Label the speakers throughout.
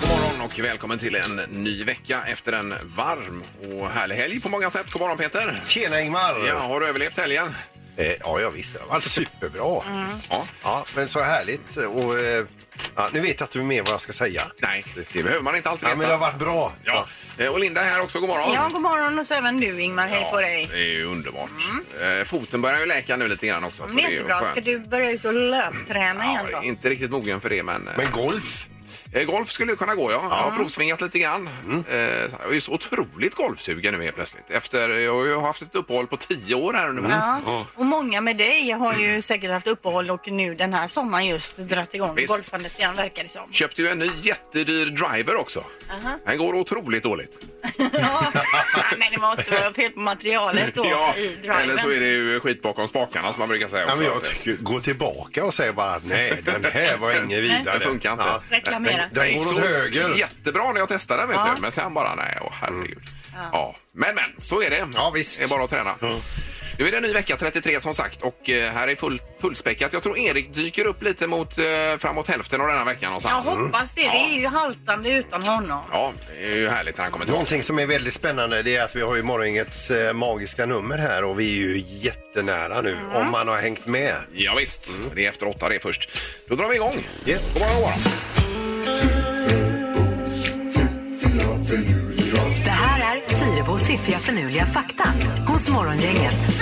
Speaker 1: God morgon och välkommen till en ny vecka efter en varm och härlig helg på många sätt. God morgon Peter!
Speaker 2: Tjena Ingmar!
Speaker 1: Ja, har du överlevt helgen?
Speaker 2: Eh, ja, ja visst. Det har varit superbra.
Speaker 1: Ja.
Speaker 2: Ja, men så härligt. Och, eh, ja, nu vet jag inte mer vad jag ska säga.
Speaker 1: Nej, det behöver man inte alltid
Speaker 2: Ja, men det har varit bra.
Speaker 1: Ja. Eh, Och Linda är här också, god morgon.
Speaker 3: Ja, god morgon och så även du Ingmar. Hej på dig.
Speaker 1: Det är ju underbart. Eh, Foten börjar ju läka nu lite grann också. så
Speaker 3: Men det är
Speaker 1: ju
Speaker 3: inte bra.
Speaker 1: skönt.
Speaker 3: Ska du börja ut och löpträna igen
Speaker 1: Ja,
Speaker 3: då?
Speaker 1: inte riktigt mogen för det, men... eh,
Speaker 2: Men golf?
Speaker 1: eh, Golf skulle ju kunna gå, ja. Jag har provsvingat lite grann.
Speaker 2: Mm.
Speaker 1: Eh, Jag är ju så otroligt golfsugen nu helt plötsligt. Efter, jag har ju haft ett uppehåll på tio år här nu.
Speaker 3: Ja. Och många med dig har ju säkert haft uppehåll och nu den här sommaren just dratt igång
Speaker 1: Visst.
Speaker 3: golfandet igen verkar det som.
Speaker 1: Köpte ju en ny jättedyr driver också. Den går otroligt dåligt.
Speaker 3: Ja. Nej, men det måste vara fel på materialet då i driven.
Speaker 1: eller så är det ju skit bakom spakarna som man brukar säga
Speaker 2: Ja,
Speaker 1: också.
Speaker 2: men jag tycker, gå tillbaka och säg bara att nej, den här var ingen vidare.
Speaker 1: det funkar inte.
Speaker 2: Ja.
Speaker 3: Reklamera.
Speaker 2: Den gick åt höger.
Speaker 1: jättebra när jag testade den, vet
Speaker 3: Ja.
Speaker 1: du. men sen bara nej, åh, herregud. Ja. Men, men, så är det.
Speaker 2: Ja, visst.
Speaker 1: Det är bara att träna. Nu är det en ny vecka, 33 som sagt, och eh, här är full, fullspäckat. Jag tror Erik dyker upp lite mot eh, framåt hälften av denna veckan
Speaker 3: Jag
Speaker 1: någonstans.
Speaker 3: hoppas det. Det
Speaker 1: Mm.
Speaker 3: är ju haltande utan honom.
Speaker 1: Ja, det är ju härligt när han kommer tillbaka.
Speaker 2: Någonting som är väldigt spännande det är att vi har ju morgongängets eh, magiska nummer här och vi är ju jättenära nu
Speaker 1: Mm.
Speaker 2: om man har hängt med.
Speaker 1: Ja, visst. det är efter åtta det först. Då drar vi igång.
Speaker 2: Yes.
Speaker 1: God morgon, god morgon.
Speaker 4: Det här är Fyrebos fiffiga förnuliga fakta hos Morgongänget.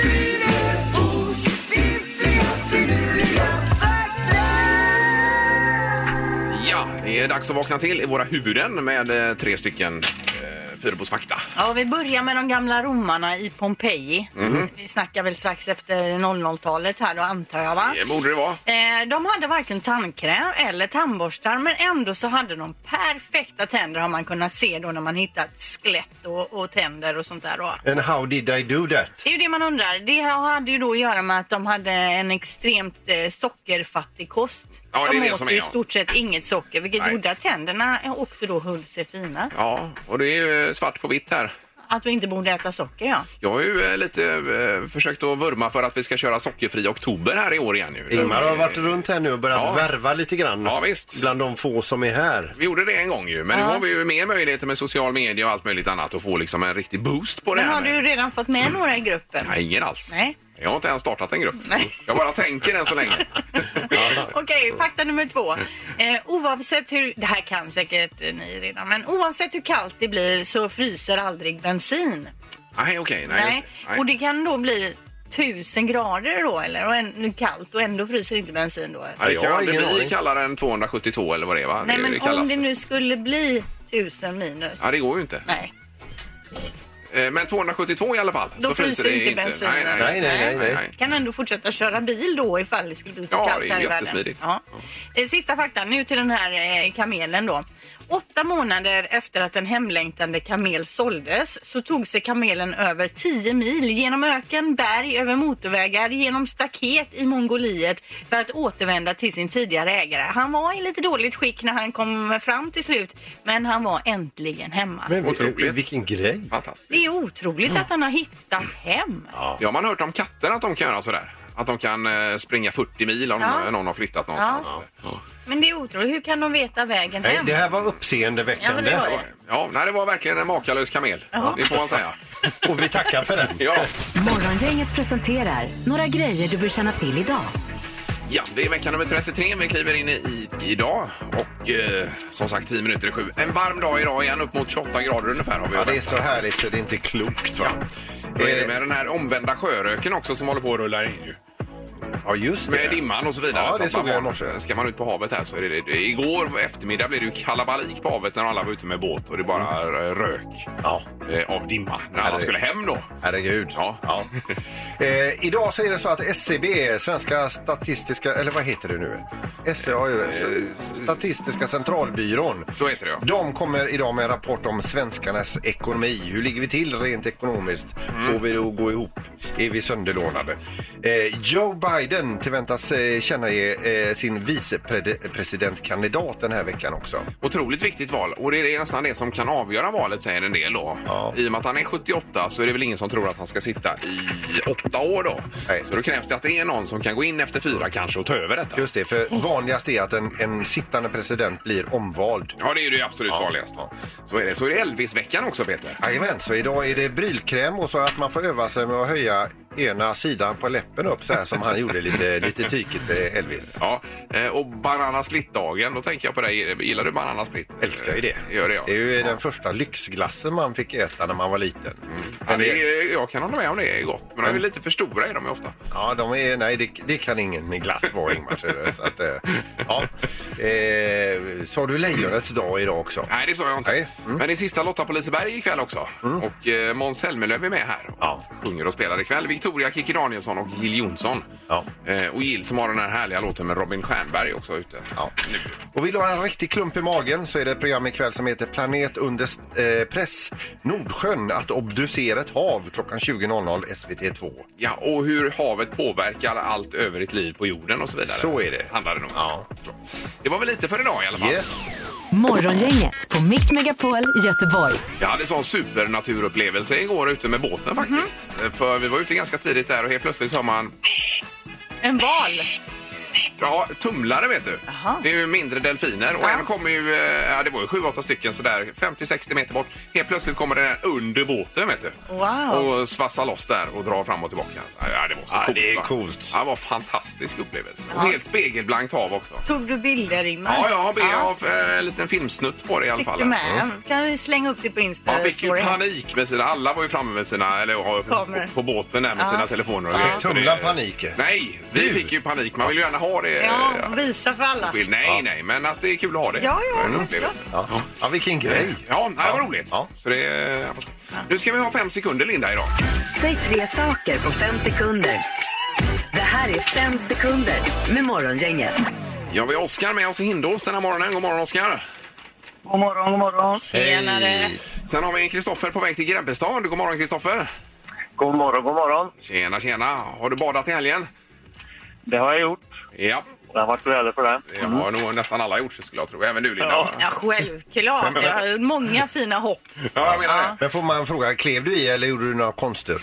Speaker 1: Ja, det är dags att vakna till i våra huvuden med eh, tre stycken eh, Fyrebos fakta.
Speaker 3: Ja, vi börjar med de gamla romarna i Pompeji.
Speaker 1: Mm.
Speaker 3: Vi snackar väl strax efter 00-talet här då antar jag va?
Speaker 1: Det borde det vara.
Speaker 3: Eh, De hade varken tandkräm eller tandborstar men ändå så hade de perfekta tänder har man kunnat se då när man hittat skelett och, och tänder och sånt där då.
Speaker 2: And how did I do that?
Speaker 3: Det är ju det man undrar. Det hade ju då att göra med att de hade en extremt eh, sockerfattig kost.
Speaker 1: Ja, det är
Speaker 3: de
Speaker 1: det
Speaker 3: åt
Speaker 1: som
Speaker 3: ju
Speaker 1: är,
Speaker 3: i
Speaker 1: ja.
Speaker 3: stort sett inget socker vilket
Speaker 1: Nej.
Speaker 3: gjorde att tänderna också då höll sig fina.
Speaker 1: Ja, och det är ju svart på vitt här.
Speaker 3: Att vi inte borde äta socker ja.
Speaker 1: Jag har ju eh, lite eh, försökt att vurma för att vi ska köra sockerfri oktober här i år igen ju.
Speaker 2: Ingmar har varit runt här nu och börjat
Speaker 1: Mm. Ja.
Speaker 2: värva lite grann
Speaker 1: Ja, visst.
Speaker 2: bland de få som är här.
Speaker 1: Vi gjorde det en gång ju, men nu har vi ju mer möjligheter med social media och allt möjligt annat att få liksom en riktig boost på det
Speaker 3: Men
Speaker 1: här.
Speaker 3: har du
Speaker 1: med- Mm.
Speaker 3: redan fått med några i gruppen?
Speaker 1: Nej, ingen alls.
Speaker 3: Nej.
Speaker 1: Jag har inte ens startat en grupp.
Speaker 3: Nej.
Speaker 1: Jag bara tänker än så länge.
Speaker 3: Okej, fakta nummer två.
Speaker 1: Mm.
Speaker 3: Eh, oavsett hur, det här kan säkert eh, ni redan, men oavsett hur kallt det blir så fryser aldrig bensin.
Speaker 1: Nej, okej. nej, just det. Nej.
Speaker 3: Och det kan då bli tusen grader då eller och en, kallt och ändå fryser inte bensin då.
Speaker 1: Nej, det kan
Speaker 2: Jag
Speaker 1: ju
Speaker 2: har
Speaker 1: aldrig
Speaker 2: ingen
Speaker 1: bli
Speaker 2: aning.
Speaker 1: kallare än 272 eller vad det är va?
Speaker 3: Nej
Speaker 1: det är
Speaker 3: men
Speaker 1: det
Speaker 3: om
Speaker 1: kallaste.
Speaker 3: det nu skulle bli tusen minus.
Speaker 1: Ja, det går ju inte.
Speaker 3: Nej.
Speaker 1: Eh, Men 272 i alla fall.
Speaker 3: Då fryser
Speaker 1: det
Speaker 3: inte bensinen.
Speaker 1: Nej, nej,
Speaker 2: Nej, nej, nej. nej.
Speaker 3: Kan ändå fortsätta köra bil då ifall det skulle bli så
Speaker 1: Ja, det
Speaker 3: kallt
Speaker 1: är
Speaker 3: här i världen.
Speaker 1: jättesmidigt.
Speaker 3: Ja. Eh, Sista faktan, nu till den här eh, kamelen då. Åtta månader efter att en hemlängtande kamel såldes så tog sig kamelen över 10 mil genom öken, berg, över motorvägar, genom staket i Mongoliet för att återvända till sin tidigare ägare. Han var i lite dåligt skick när han kom fram till slut men han var äntligen hemma.
Speaker 2: Men
Speaker 1: Otroligt.
Speaker 2: Otroligt. vilken grej!
Speaker 1: Fantastiskt.
Speaker 3: Det är otroligt att han har hittat hem.
Speaker 1: Ja, man har hört om katter att de kan göra sådär. Att de kan eh, springa 40 mil om
Speaker 3: Ja.
Speaker 1: någon har flyttat någonstans. Ja,
Speaker 3: Men det är otroligt, hur kan de veta vägen
Speaker 2: Nej,
Speaker 3: hem?
Speaker 2: det här var
Speaker 3: Ja, men
Speaker 2: uppseendeväckande.
Speaker 3: det var det.
Speaker 1: nej, det var verkligen en makalös kamel. Det får man säga.
Speaker 2: Och vi tackar för den.
Speaker 1: Ja.
Speaker 4: Morgongänget presenterar några grejer du bör känna till idag.
Speaker 1: ja, det är vecka nummer 33 vi kliver in i idag. Och eh, som sagt 10 minuter i sju. En varm dag idag igen, upp mot 28 grader ungefär har vi
Speaker 2: Ja,
Speaker 1: att
Speaker 2: det är
Speaker 1: vänta.
Speaker 2: så härligt så det är inte klokt.
Speaker 1: Ja.
Speaker 2: Va?
Speaker 1: Då är det med den här omvända sjöröken också som håller på att rulla in ju.
Speaker 2: Ja, just det.
Speaker 1: Med dimman och så vidare.
Speaker 2: Ja,
Speaker 1: så
Speaker 2: det
Speaker 1: att
Speaker 2: såg
Speaker 1: man
Speaker 2: jag i
Speaker 1: har-
Speaker 2: morse.
Speaker 1: Ska man ut på havet här så är det, det Igår eftermiddag blev det ju kalabalik på havet när alla var ute med båt och det bara eh, rök
Speaker 2: Mm. Ja.
Speaker 1: eh, av dimma när alla
Speaker 2: Herre-
Speaker 1: skulle hem då.
Speaker 2: Herregud.
Speaker 1: Ja.
Speaker 2: Eh, idag så är det så att SCB, Svenska statistiska, eller vad heter det nu? E SCAUS, Statistiska centralbyrån.
Speaker 1: Så heter det, ja.
Speaker 2: De kommer idag med en rapport om svenskarnas ekonomi. Hur ligger vi till rent ekonomiskt? Får vi det att gå ihop? Är vi sönderlånade? Eh, Joe Biden tillväntas eh, känna eh, sin vicepresidentkandidat den här veckan också.
Speaker 1: Otroligt viktigt val och det är nästan det som kan avgöra valet säger en del då.
Speaker 2: Ja.
Speaker 1: I och med att han är 78 så är det väl ingen som tror att han ska sitta i åtta år då.
Speaker 2: Nej.
Speaker 1: Så då krävs det att det är någon som kan gå in efter fyra kanske och ta över detta.
Speaker 2: Just det, för vanligast är att en, en sittande president blir omvald.
Speaker 1: Ja, det är ju det absolut
Speaker 2: Ja.
Speaker 1: vanligaste. Så är det. Så är det Elvis-veckan också, Peter.
Speaker 2: Jajamän, så idag är det brylkräm och så att man får öva sig med att höja ena sidan på läppen upp så här som han gjorde lite, lite tykigt eh, Elvis.
Speaker 1: Ja, eh, och bananasplittdagen, då tänker jag på dig. Gillar du bananasplitt?
Speaker 2: Älskar ju det.
Speaker 1: Gör det, ja.
Speaker 2: Det är ju den första lyxglassen man fick äta när man var liten.
Speaker 1: Ja,
Speaker 2: Men
Speaker 1: det
Speaker 2: det,
Speaker 1: är, jag kan hålla med om det är gott, men de är lite för stora är de ju ofta.
Speaker 2: ja, de är, nej, det, det kan ingen glass vara Ingmar. ser du. Så att, eh, ja. eh, sa du lejonets dag idag också?
Speaker 1: Nej, det sa jag inte.
Speaker 2: Nej. Mm.
Speaker 1: Men det är sista Lotta på Liseberg ikväll också. Och eh, Måns Zelmerlöw är med här och
Speaker 2: Ja.
Speaker 1: sjunger och spelar ikväll. Victoria Kikki Danielsson och Jill Johnson.
Speaker 2: Ja.
Speaker 1: Eh, och Jill som har den här härliga låten med Robin Stjernberg också ute.
Speaker 2: Ja. Och vill du ha en riktig klump i magen så är det ett program ikväll som heter Planet under eh, press. Nordsjön att obducera ett hav klockan 20.00 SVT2.
Speaker 1: Ja, och hur havet påverkar allt övrigt liv på jorden och så vidare.
Speaker 2: Så är det.
Speaker 1: Handlar det nog.
Speaker 2: Ja.
Speaker 1: Det var väl lite för idag i alla fall.
Speaker 2: Yes.
Speaker 4: Morgongänget på Mix Megapol Göteborg.
Speaker 1: Jag hade en sån supernaturupplevelse igår ute med
Speaker 2: Mhm.
Speaker 1: båten faktiskt. Eh, För vi var ute ganska tidigt där och helt plötsligt hör man
Speaker 3: En val.
Speaker 1: Ja, tumlare vet du.
Speaker 3: Aha.
Speaker 1: Det är ju mindre delfiner. Och
Speaker 3: Ja.
Speaker 1: en kommer ju, eh, ja det var ju 7-8 stycken sådär 50-60 meter bort. Helt plötsligt kommer den här under båten vet du.
Speaker 3: Wow.
Speaker 1: Och svassar loss där och drar fram och tillbaka. Ja, det var så
Speaker 2: Ja,
Speaker 1: coolt.
Speaker 2: det är
Speaker 1: va?
Speaker 2: coolt.
Speaker 1: Ja, det var en fantastisk upplevelse. Och helt spegelblankt hav också.
Speaker 3: Tog du bilder, Ingmar?
Speaker 1: Ja, jag har jag har eh, en liten filmsnutt på det i alla
Speaker 3: Fick
Speaker 1: fall. Mm.
Speaker 3: du med? Kan vi slänga upp det på Insta?
Speaker 1: Man fick ju
Speaker 3: story?
Speaker 1: panik med sina, alla var ju framme med sina, eller ja,
Speaker 3: Kameror.
Speaker 1: på, på båten där med sina telefoner och grejer. Så det-
Speaker 2: Tumla paniken.
Speaker 1: Nej, vi
Speaker 2: Du.
Speaker 1: fick ju panik. Man vill ju gärna ha det.
Speaker 3: Ja,
Speaker 1: eh,
Speaker 3: visa för alla.
Speaker 1: bild. Nej, nej, men att det är kul att ha det.
Speaker 3: Ja, ja,
Speaker 1: Det är en
Speaker 3: självklart.
Speaker 1: upplevelse.
Speaker 2: Ja. ja, vilken grej.
Speaker 1: Ja, det var roligt.
Speaker 2: Ja.
Speaker 1: Så det, eh, nu ska vi ha fem sekunder, Linda, idag.
Speaker 4: Säg tre saker på fem sekunder. Det här är fem sekunder med Morgongänget.
Speaker 1: Ja, vi har Oskar med oss i Hindås den här morgonen. God morgon, Oskar.
Speaker 5: God morgon, god morgon.
Speaker 3: Tjenare.
Speaker 2: Hej.
Speaker 1: Sen har vi en Kristoffer på väg till Grebbestad. God morgon, Kristoffer.
Speaker 5: God morgon, god morgon.
Speaker 1: Tjena, tjena. Har du badat i helgen?
Speaker 5: Det har jag gjort.
Speaker 1: Ja,
Speaker 5: Det har varit väder för det.
Speaker 1: det har nog nästan alla gjort, skulle jag tro. Även du, Linda.
Speaker 5: Ja.
Speaker 1: va?
Speaker 3: Ja, självklart. Jag har många fina hopp.
Speaker 1: ja jag menar det.
Speaker 2: Men får man fråga, klev du i eller gjorde du några konster?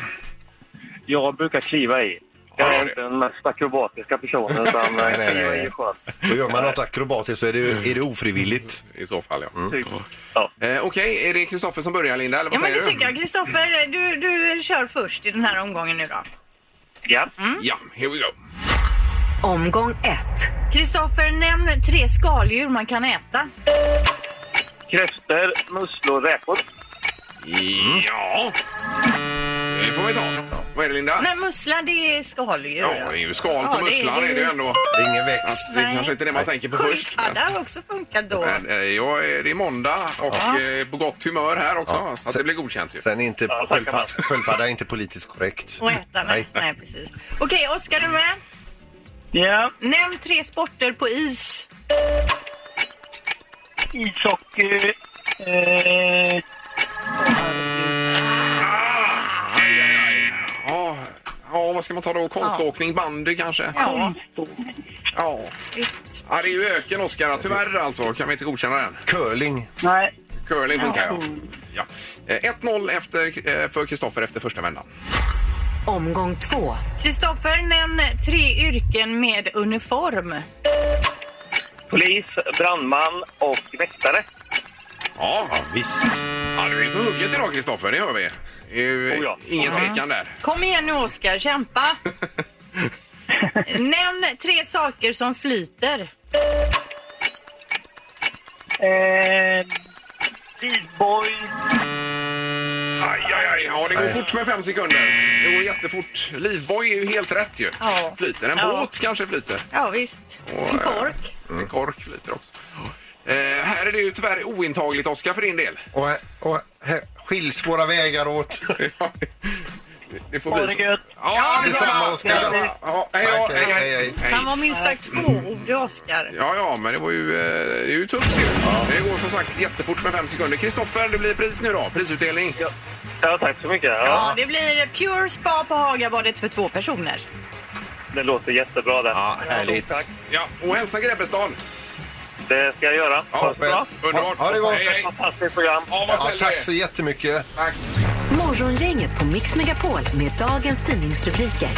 Speaker 5: Jag brukar kliva i.
Speaker 1: Ja,
Speaker 5: Jag
Speaker 1: det
Speaker 5: är
Speaker 1: är det.
Speaker 5: inte den mest akrobatiska personen, utan
Speaker 2: Nej,
Speaker 5: eh,
Speaker 2: nej,
Speaker 5: kliva
Speaker 2: nej.
Speaker 5: i är skönt.
Speaker 2: Och gör man något akrobatiskt så är det, är det ofrivilligt.
Speaker 1: I så fall, ja. Mm.
Speaker 5: Typ. Ja.
Speaker 1: Eh, Okej, är det Kristoffer som börjar, Linda? Eller vad
Speaker 3: Ja, men
Speaker 1: säger
Speaker 3: det tycker jag. Kristoffer, du, du kör först i den här omgången nu då.
Speaker 5: Ja.
Speaker 3: Mm.
Speaker 1: Ja, here we go.
Speaker 4: Omgång ett.
Speaker 3: Kristoffer, nämn tre skaldjur man kan äta.
Speaker 5: Kräftor, musslor, räkor.
Speaker 1: Mm. Ja, det får vi ta. Vad är det, Linda?
Speaker 3: Nej, mussla det är skaldjur.
Speaker 1: Ja, det är ju skal på
Speaker 3: Ja, det är
Speaker 1: musslan
Speaker 3: ju-
Speaker 1: är det ju ändå.
Speaker 2: Det är ingen växt.
Speaker 1: Att det är
Speaker 3: Nej.
Speaker 1: kanske inte är det man tänker på först.
Speaker 3: Sköldpadda
Speaker 1: Men,
Speaker 3: har också funkat då.
Speaker 1: men, eh, jag är, det är måndag och eh, på gott humör här också, så att det blir godkänt. Ju.
Speaker 2: Sen är inte
Speaker 5: Ja, tackar
Speaker 2: sköldpadda sköldpadda är inte politiskt korrekt.
Speaker 3: Och äta, nej. nej precis. Okej, Oskar, är du med?
Speaker 5: Ja.
Speaker 3: Nämn tre sporter på is.
Speaker 5: Ishockey. Eh,
Speaker 1: Ja, ja, vad ska man ta då? Konståkning, bandy kanske?
Speaker 3: Ja,
Speaker 1: Ja.
Speaker 3: visst.
Speaker 1: ja, det är ju öken, Oskar. Tyvärr alltså kan vi inte godkänna den.
Speaker 2: Curling.
Speaker 5: nej.
Speaker 1: Curling funkar ja.
Speaker 3: Mm.
Speaker 1: ja. Eh, 1-0 efter, eh, för Kristoffer efter första vändan.
Speaker 4: Omgång två.
Speaker 3: Kristoffer, nämn tre yrken med uniform.
Speaker 5: Polis, brandman och väktare.
Speaker 1: Ja, visst. Ja, du är på hugget idag Kristoffer, det hör vi. Det är ju
Speaker 5: Oh, ja.
Speaker 1: Ingen tvekan där.
Speaker 3: Kom igen nu, Oskar. Kämpa! Nämn tre saker som flyter.
Speaker 5: Eh, Speedboy.
Speaker 1: Aj, aj, aj, nej, ja, det går
Speaker 2: Nej.
Speaker 1: fort med fem sekunder. Det går jättefort. Livboj är ju helt rätt ju.
Speaker 3: Ja.
Speaker 1: Flyter. En
Speaker 3: Ja.
Speaker 1: båt kanske flyter.
Speaker 3: Ja, visst.
Speaker 1: Och,
Speaker 3: En kork.
Speaker 1: eh, En kork flyter också. Eh, här är det ju tyvärr ointagligt, Oskar, för din del.
Speaker 2: Och, och här skiljs våra vägar åt.
Speaker 1: Ja, det- det får
Speaker 5: Ha
Speaker 1: bli
Speaker 5: det
Speaker 1: så.
Speaker 5: gött.
Speaker 1: Ja, detsamma,
Speaker 2: detsamma,
Speaker 1: Oskar.
Speaker 2: Oskar.
Speaker 1: Ja, hej, då.
Speaker 2: Tack,
Speaker 1: hej,
Speaker 2: hej,
Speaker 1: hej,
Speaker 2: hej,
Speaker 1: hej.
Speaker 3: Han var minst sagt tvåordig, Oskar.
Speaker 1: Ja, ja, men det var ju, eh, det är ju tufft. ju. Det går som sagt jättefort med fem sekunder. Kristoffer, det blir pris nu då. Prisutdelning.
Speaker 5: Ja. ja, tack så mycket.
Speaker 3: Ja,
Speaker 5: Ja,
Speaker 3: det blir Pure Spa på Hagabadet för två personer.
Speaker 5: det låter jättebra det.
Speaker 2: Ja, härligt.
Speaker 5: Tack.
Speaker 1: Ja, och hälsa Grebbestad.
Speaker 5: Det ska jag göra.
Speaker 1: Ja,
Speaker 5: Tack så bra.
Speaker 1: Underbart.
Speaker 2: Ha- ha det gott.
Speaker 1: Hej, hej.
Speaker 5: Fantastiskt program.
Speaker 1: Ja, vad
Speaker 2: Ja,
Speaker 1: snäll du
Speaker 2: tack
Speaker 1: är.
Speaker 2: så jättemycket.
Speaker 1: Tack.
Speaker 4: Morgongänget på Mix Megapol med dagens tidningsrubriker.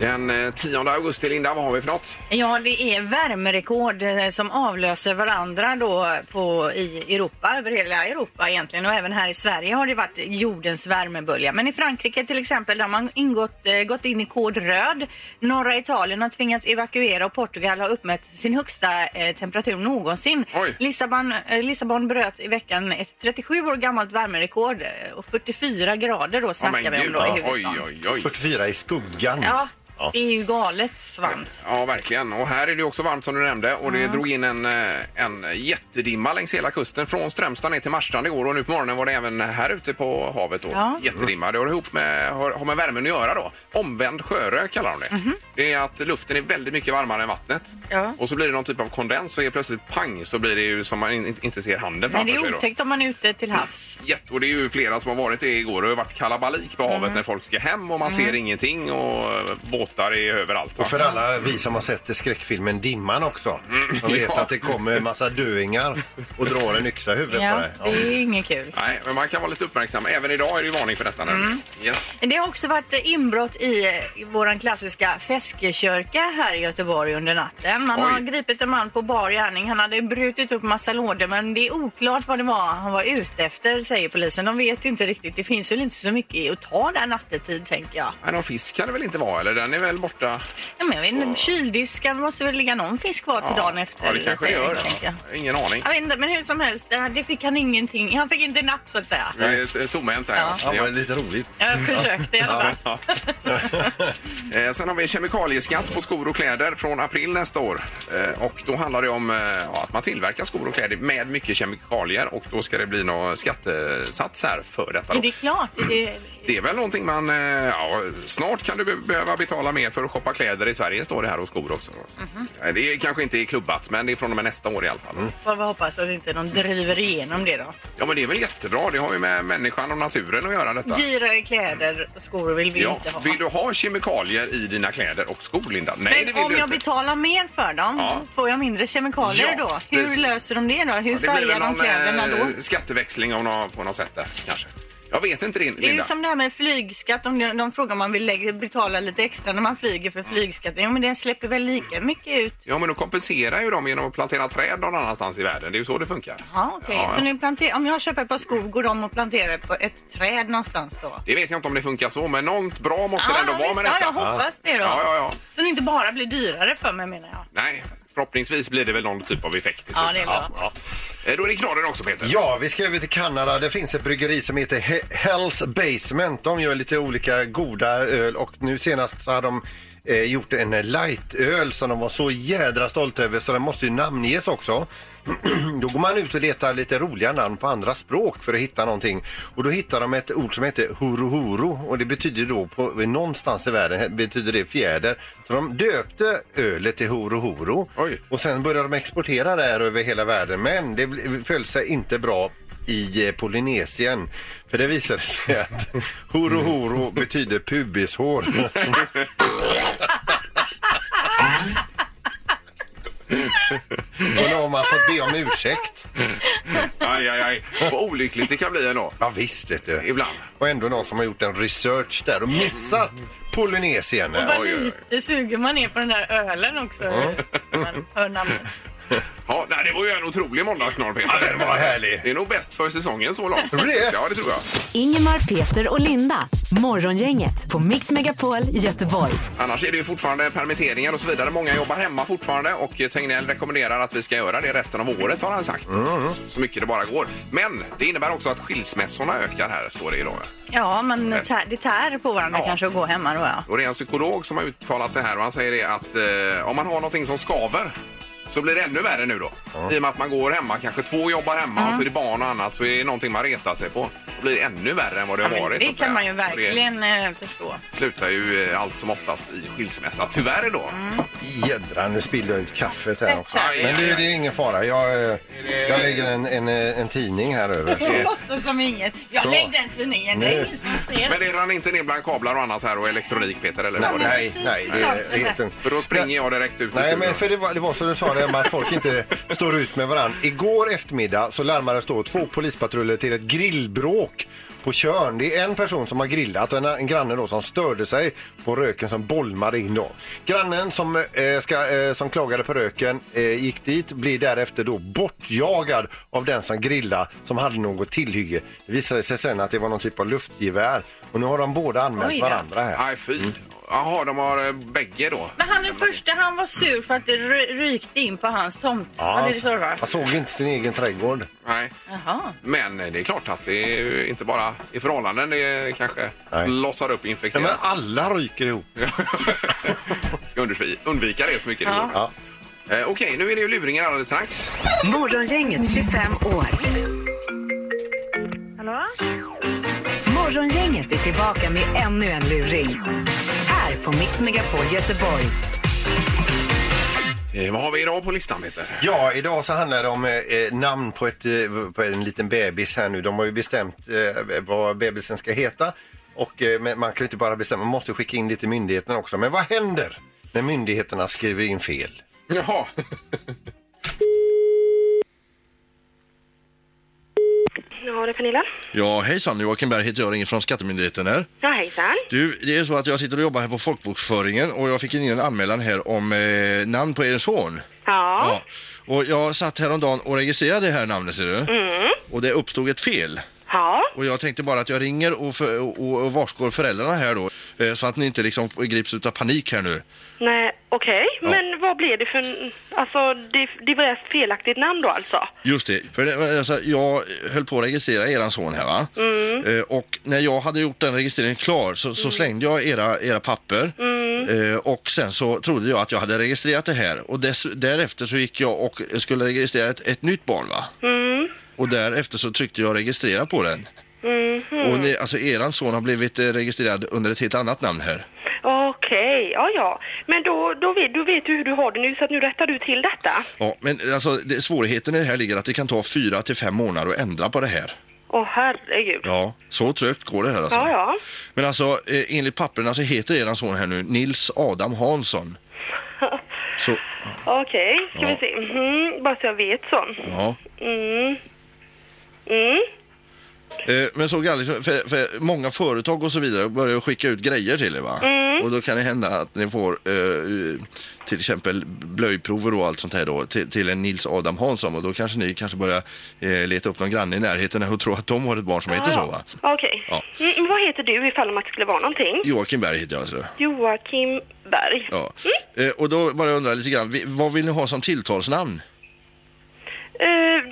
Speaker 1: Den eh, 10 augusti, Linda, vad har vi för något?
Speaker 3: Ja, det är värmerekord eh, som avlöser varandra då på, i Europa, över hela Europa egentligen. Och även här i Sverige har det varit jordens värmebölja. Men i Frankrike till exempel, där har man ingått, eh, gått in i kod röd. Norra Italien har tvingats evakuera och Portugal har uppmätt sin högsta eh, temperatur någonsin.
Speaker 1: Oj.
Speaker 3: Lissabon, eh, Lissabon bröt i veckan ett 37 år gammalt värmerekord eh, och 44 grader då
Speaker 1: Ja,
Speaker 3: snackar
Speaker 1: men
Speaker 3: vi om
Speaker 1: gud.
Speaker 3: då i
Speaker 1: Oj,
Speaker 3: huvudstaden.
Speaker 1: oj, oj.
Speaker 2: 44 i skuggan.
Speaker 3: Ja, det är ju galet svant.
Speaker 1: Ja, verkligen. Och här är det också varmt som du nämnde och det
Speaker 3: Mm.
Speaker 1: drog in en, eh, en jättedimma längs hela kusten från Strömstad ner till Marstrand igår och nu på morgonen var det även här ute på havet då.
Speaker 3: Ja.
Speaker 1: jättedimma. Det har, ihop med, har, har med värmen att göra då. Omvänd sjörök kallar de det.
Speaker 3: Mhm.
Speaker 1: Det är att luften är väldigt mycket varmare än vattnet
Speaker 3: Ja.
Speaker 1: och så blir det någon typ av kondens och helt plötsligt pang så blir det ju som man in, inte ser handen
Speaker 3: Men
Speaker 1: framför
Speaker 3: det
Speaker 1: sig
Speaker 3: är
Speaker 1: då.
Speaker 3: otäckt om man är ute till havs.
Speaker 1: Jätte, och det är ju flera som har varit det igår. Det har ju varit kalabalik på
Speaker 3: Mm.
Speaker 1: havet när folk ska hem och man ser ingenting och eh, båtar är överallt. va? Mm.
Speaker 2: Och för alla vi som har sett i skräckfilmen Dimman också.
Speaker 3: Mm.
Speaker 2: Som vet
Speaker 1: Ja.
Speaker 2: att det kommer en massa döingar och drar en yxa i huvudet på
Speaker 3: Ja,
Speaker 2: dig.
Speaker 3: det är inget kul.
Speaker 1: Nej, men man kan vara lite uppmärksam. Även idag är det ju varning för detta nu.
Speaker 3: Mm.
Speaker 1: Yes.
Speaker 3: Det har också varit inbrott i eh, vår klassiska feskekörka här i Göteborg under natten. Man
Speaker 1: Oj.
Speaker 3: har gripit en man på bar gärning. Han hade brutit upp massa lådor men det är oklart vad det var han var ute efter säger polisen. De vet inte riktigt. Det finns väl inte så mycket att ta där nattetid tänker jag.
Speaker 1: Nej, någon fisk kan det väl inte vara? Eller den är väl borta?
Speaker 3: Ja, men jag vet inte, kyldisken måste väl ligga någon fisk kvar till dagen efter.
Speaker 1: Ja, det kanske det gör.
Speaker 3: tänker jag.
Speaker 1: Ingen aning.
Speaker 3: Jag vet inte, men hur som helst, det här- det fick han ingenting. Han fick inte napp så att säga.
Speaker 1: Vi är t- tomhänt här.
Speaker 3: Ja.
Speaker 1: Ja.
Speaker 2: Ja, det var lite roligt.
Speaker 3: Jag försökte i alla fall.
Speaker 1: Eh, sen har vi en kemikalieskatt på skor och kläder från april nästa år. Eh, och då handlar det om eh, ja, att man tillverkar skor och kläder med mycket kemikalier och då ska det bli någon skattesats här för detta. Då.
Speaker 3: Är det klart? Är det...
Speaker 1: Det är väl någonting man... eh, Ja, snart kan du be- behöva betala mer för att shoppa kläder i Sverige, står det här, och skor också.
Speaker 3: Mhm.
Speaker 1: Eh, Det är, kanske inte är klubbat, men det är från och med nästa år i alla fall.
Speaker 3: Får vi hoppas att inte någon driver igenom det då.
Speaker 1: Ja, men det är väl jättebra. Det har ju med människan och naturen att göra detta.
Speaker 3: Dyrare kläder och skor vill vi
Speaker 1: Ja.
Speaker 3: inte ha.
Speaker 1: Vill du ha kemikalier i dina kläder och skor, Linda? Nej, det
Speaker 3: Men
Speaker 1: vill
Speaker 3: om
Speaker 1: du
Speaker 3: jag
Speaker 1: inte.
Speaker 3: betalar mer för dem,
Speaker 1: Ja.
Speaker 3: får jag mindre kemikalier
Speaker 1: Ja,
Speaker 3: då? Hur
Speaker 1: precis.
Speaker 3: löser de det då? Hur färgar de kläderna då?
Speaker 1: eh, skatteväxling av nå- på något sätt där, kanske. Jag vet inte, Lin-
Speaker 3: Det är ju
Speaker 1: Linda.
Speaker 3: som det här med flygskatt. Om de, de frågar om man vill lägga, betala lite extra när man flyger för flygskatt. Jo, men det släpper väl lika mycket ut.
Speaker 1: Ja, men då kompenserar ju de genom att plantera träd någon annanstans i världen. Det är ju så det funkar.
Speaker 3: Ja, okej.
Speaker 1: Ja,
Speaker 3: Så
Speaker 1: ja.
Speaker 3: nu planter, om jag köper ett par skor, går de och planterar på ett träd någonstans då?
Speaker 1: Det vet jag inte om det funkar så, men något bra måste det ändå vara med
Speaker 3: ja,
Speaker 1: detta.
Speaker 3: jag hoppas det då.
Speaker 1: Ja, ja, ja.
Speaker 3: Så det inte bara blir dyrare för mig menar jag.
Speaker 1: Nej, förhoppningsvis blir det väl någon typ av effekt. i
Speaker 3: Ja,
Speaker 1: slutet.
Speaker 3: det är bra.
Speaker 1: Eh, Då är det knorren också, Peter.
Speaker 2: Ja, vi ska över till Kanada. Det finns ett bryggeri som heter He- Hell's Basement. De gör lite olika goda öl och nu senast så har de eh, gjort en lightöl som de var så jädra stolta över så den måste ju namnges också. då går man ut och letar lite roliga namn på andra språk för att hitta någonting. Och då hittar de ett ord som heter huruhuru och det betyder då på, någonstans i världen betyder det fjäder. Så de döpte ölet till huruhuru.
Speaker 1: Oj.
Speaker 2: Och sen började de exportera det här över hela världen men det bl- föll sig inte bra i eh, Polynesien. För det visade sig att horo horo betyder pubishår. Och nu har man fått be om ursäkt.
Speaker 1: Aj, aj, aj. Vad olyckligt det kan bli ändå.
Speaker 2: Ja visst vet du.
Speaker 1: Ibland.
Speaker 2: Och ändå någon som har gjort en research där och missat Polynesien.
Speaker 3: Vad
Speaker 1: oj, oj.
Speaker 3: lite sugen man är på den där ölen också. när Man Mm. hör namnet.
Speaker 1: Ja, nej, det var ju en otrolig måndagsknorr, Peter.
Speaker 2: Ja, den var härlig.
Speaker 1: Det är nog bäst för säsongen så långt.
Speaker 2: Tror du det?
Speaker 1: Ja, det tror jag.
Speaker 6: Ingemar, Peter och Linda. Morgongänget på Mix Megapol Göteborg.
Speaker 1: Annars är det ju fortfarande permitteringar och så vidare. Många jobbar hemma fortfarande och Tegnell rekommenderar att vi ska göra det resten av året har han sagt.
Speaker 2: Mm.
Speaker 1: Så- Så mycket det bara går. Men det innebär också att skilsmässorna ökar här, står det idag.
Speaker 3: Ja, men tär, det tär på varandra
Speaker 1: Ja.
Speaker 3: kanske att gå hemma då. Ja.
Speaker 1: Och det är en psykolog som har uttalat sig här och han säger det att eh, om man har någonting som skaver så blir det ännu värre nu då. I och med att man går hemma, kanske två jobbar hemma och så är det barn och annat så är det någonting man retar sig på. Då blir det ännu värre än vad det
Speaker 3: Ja,
Speaker 1: har
Speaker 3: men
Speaker 1: varit. så
Speaker 3: det
Speaker 1: att säga.
Speaker 3: kan man ju
Speaker 1: Och det-
Speaker 3: verkligen eh, förstå.
Speaker 1: slutar ju eh, allt som oftast i skilsmässa. Tyvärr då.
Speaker 2: Jädrar, nu spillde jag ut kaffet här också.
Speaker 1: Aj,
Speaker 2: Men
Speaker 1: aj,
Speaker 2: det,
Speaker 1: aj.
Speaker 2: det är ingen fara. Jag, eh, jag lägger en, en, eh, en tidning här över.
Speaker 3: Det låtsas som inget. Jag
Speaker 2: Så.
Speaker 3: lägger den tidningen. Det är ingen som ser.
Speaker 1: Men det rann inte ner bland kablar och annat här och elektronik Peter, eller
Speaker 2: Nej,
Speaker 1: hur?
Speaker 2: nej, nej. Det är inte...
Speaker 1: För då springer jag direkt ut ur
Speaker 2: Nej,
Speaker 1: studion.
Speaker 2: men för det var, det var som du sa, det här med att folk inte står ut med varandra. Igår eftermiddag så larmades då två polispatruller till ett grillbråk på Tjörn. Det är en person som har grillat och en, en granne då som störde sig på röken som bolmade in då. Grannen som, eh, ska, eh, som klagade på röken eh, gick dit, blir därefter då bortjagad av den som grillade som hade något tillhygge. Det visade sig sen att det var någon typ av luftgevär och nu har de båda
Speaker 7: Oj
Speaker 2: anmält
Speaker 7: då.
Speaker 2: varandra här. Mm.
Speaker 1: Aj, fy. Jaha, de har eh, bägge då.
Speaker 7: Men han den första han var sur för att det ry- rykte in på hans tomt. Ja,
Speaker 1: alltså.
Speaker 7: det är så det var.
Speaker 2: Han såg inte sin egen trädgård.
Speaker 1: Nej.
Speaker 7: Jaha.
Speaker 1: Men eh, det är klart att det är ju inte bara i förhållanden det kanske
Speaker 2: Nej.
Speaker 1: blossar upp
Speaker 2: Ja, men
Speaker 1: infekterat.
Speaker 2: alla ryker ihop.
Speaker 1: Ska undvi- undvika det så mycket det
Speaker 7: Ja.
Speaker 1: går.
Speaker 2: Ja.
Speaker 1: Eh, Okej, nu är det ju luringar alldeles strax.
Speaker 4: Morgongänget 25 år. Morgongänget är tillbaka med ännu en luring. Här på Mix Megapol Göteborg.
Speaker 1: Eh, vad har vi idag på listan Peter?
Speaker 2: Ja, idag så handlar det om eh, namn på, ett, eh, på en liten bebis här nu. De har ju bestämt eh, vad bebisen ska heta. Och eh, men man kan ju inte bara bestämma, man måste skicka in det till myndigheterna också. Men vad händer när myndigheterna skriver in fel?
Speaker 1: Jaha.
Speaker 8: Ja, det är Pernilla.
Speaker 9: Ja, hejsan. Joakim Berg heter jag, ringer från Skattemyndigheten här.
Speaker 8: Ja, hejsan.
Speaker 9: Du, det är så att jag sitter och jobbar här på folkbokföringen och jag fick in en anmälan här om eh, namn på er son.
Speaker 8: Ja.
Speaker 9: Och jag satt häromdagen och registrerade det här namnet, ser du. Och det uppstod ett fel.
Speaker 8: Mm. Ja.
Speaker 9: Och jag tänkte bara att jag ringer och, för, och, och varskår föräldrarna här då. Eh, så att ni inte liksom grips utav panik här nu.
Speaker 8: Nej, okej. Men vad blev det för... en- Alltså, det, det var ett felaktigt namn då alltså?
Speaker 9: Just det, för det, alltså, jag höll på att registrera eran son här va?
Speaker 8: Mm.
Speaker 9: Eh, och när jag hade gjort den registreringen klar så, så slängde jag era, era
Speaker 8: Mm.
Speaker 9: papper
Speaker 10: Mm.
Speaker 9: eh, och sen så trodde jag att jag hade registrerat det här och dess, därefter så gick jag och skulle registrera ett, ett nytt barn va?
Speaker 8: Mm.
Speaker 9: Och därefter så tryckte jag registrera på den.
Speaker 8: Mm. Mhm.
Speaker 9: Och ni, alltså eran son har blivit eh, registrerad under ett helt annat namn här.
Speaker 8: Okej, ja ja. Men då, då vet, du vet ju hur du har det nu så att nu rättar du till detta.
Speaker 9: Ja, men alltså det, svårigheten i det här ligger att det kan ta fyra till fem månader att ändra på det här.
Speaker 8: Åh herregud.
Speaker 9: Ja, så trögt går det här alltså.
Speaker 8: Ja, ja.
Speaker 9: Men alltså eh, enligt papperna så heter eran son här nu Nils Adam Hansson. Så,
Speaker 8: Okej, ska
Speaker 9: Ja.
Speaker 8: vi se. Mhm, bara så jag vet så.
Speaker 9: ja.
Speaker 8: Mm. Mm.
Speaker 9: Eh, men så galet, för, för många företag och så vidare börjar skicka ut grejer till er va? Och då kan det hända att ni får eh, till exempel blöjprover och allt sånt här då till, till en Nils Adam Hansson och då kanske ni kanske börjar eh, leta upp någon granne i närheten och tro att de har ett barn som heter så va?
Speaker 8: Okej.
Speaker 9: Ja.
Speaker 8: Mm, men vad heter du ifall om att det skulle vara någonting?
Speaker 9: Joakim Berg heter jag alltså.
Speaker 8: Joakim Berg. Mm.
Speaker 9: Ja. Eh, och då bara undrar jag lite grann, vi- vad vill ni ha som tilltalsnamn?
Speaker 8: Eh,